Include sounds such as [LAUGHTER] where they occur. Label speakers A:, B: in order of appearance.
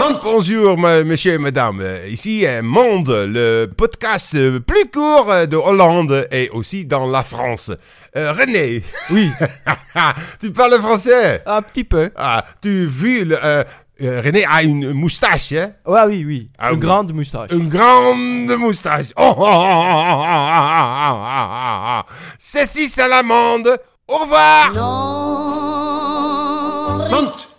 A: Bon- Bonjour, ma- monsieur et madame. Euh, Ici est Monde, le podcast euh, plus court euh, de Hollande et aussi dans la France. Euh, René, [LAUGHS]
B: Oui,
A: tu parles français
B: un petit peu.
A: Ah, tu vis le, euh, euh, René a une moustache, hein
B: Ouais, oui, oui.
A: Ah,
B: une
A: oui.
B: grande moustache.
A: Une grande moustache. Oh, oh, oh, oh, oh, oh, oh, oh, oh. Ceci, c'est la monde. Au revoir.
C: Non,
D: Monte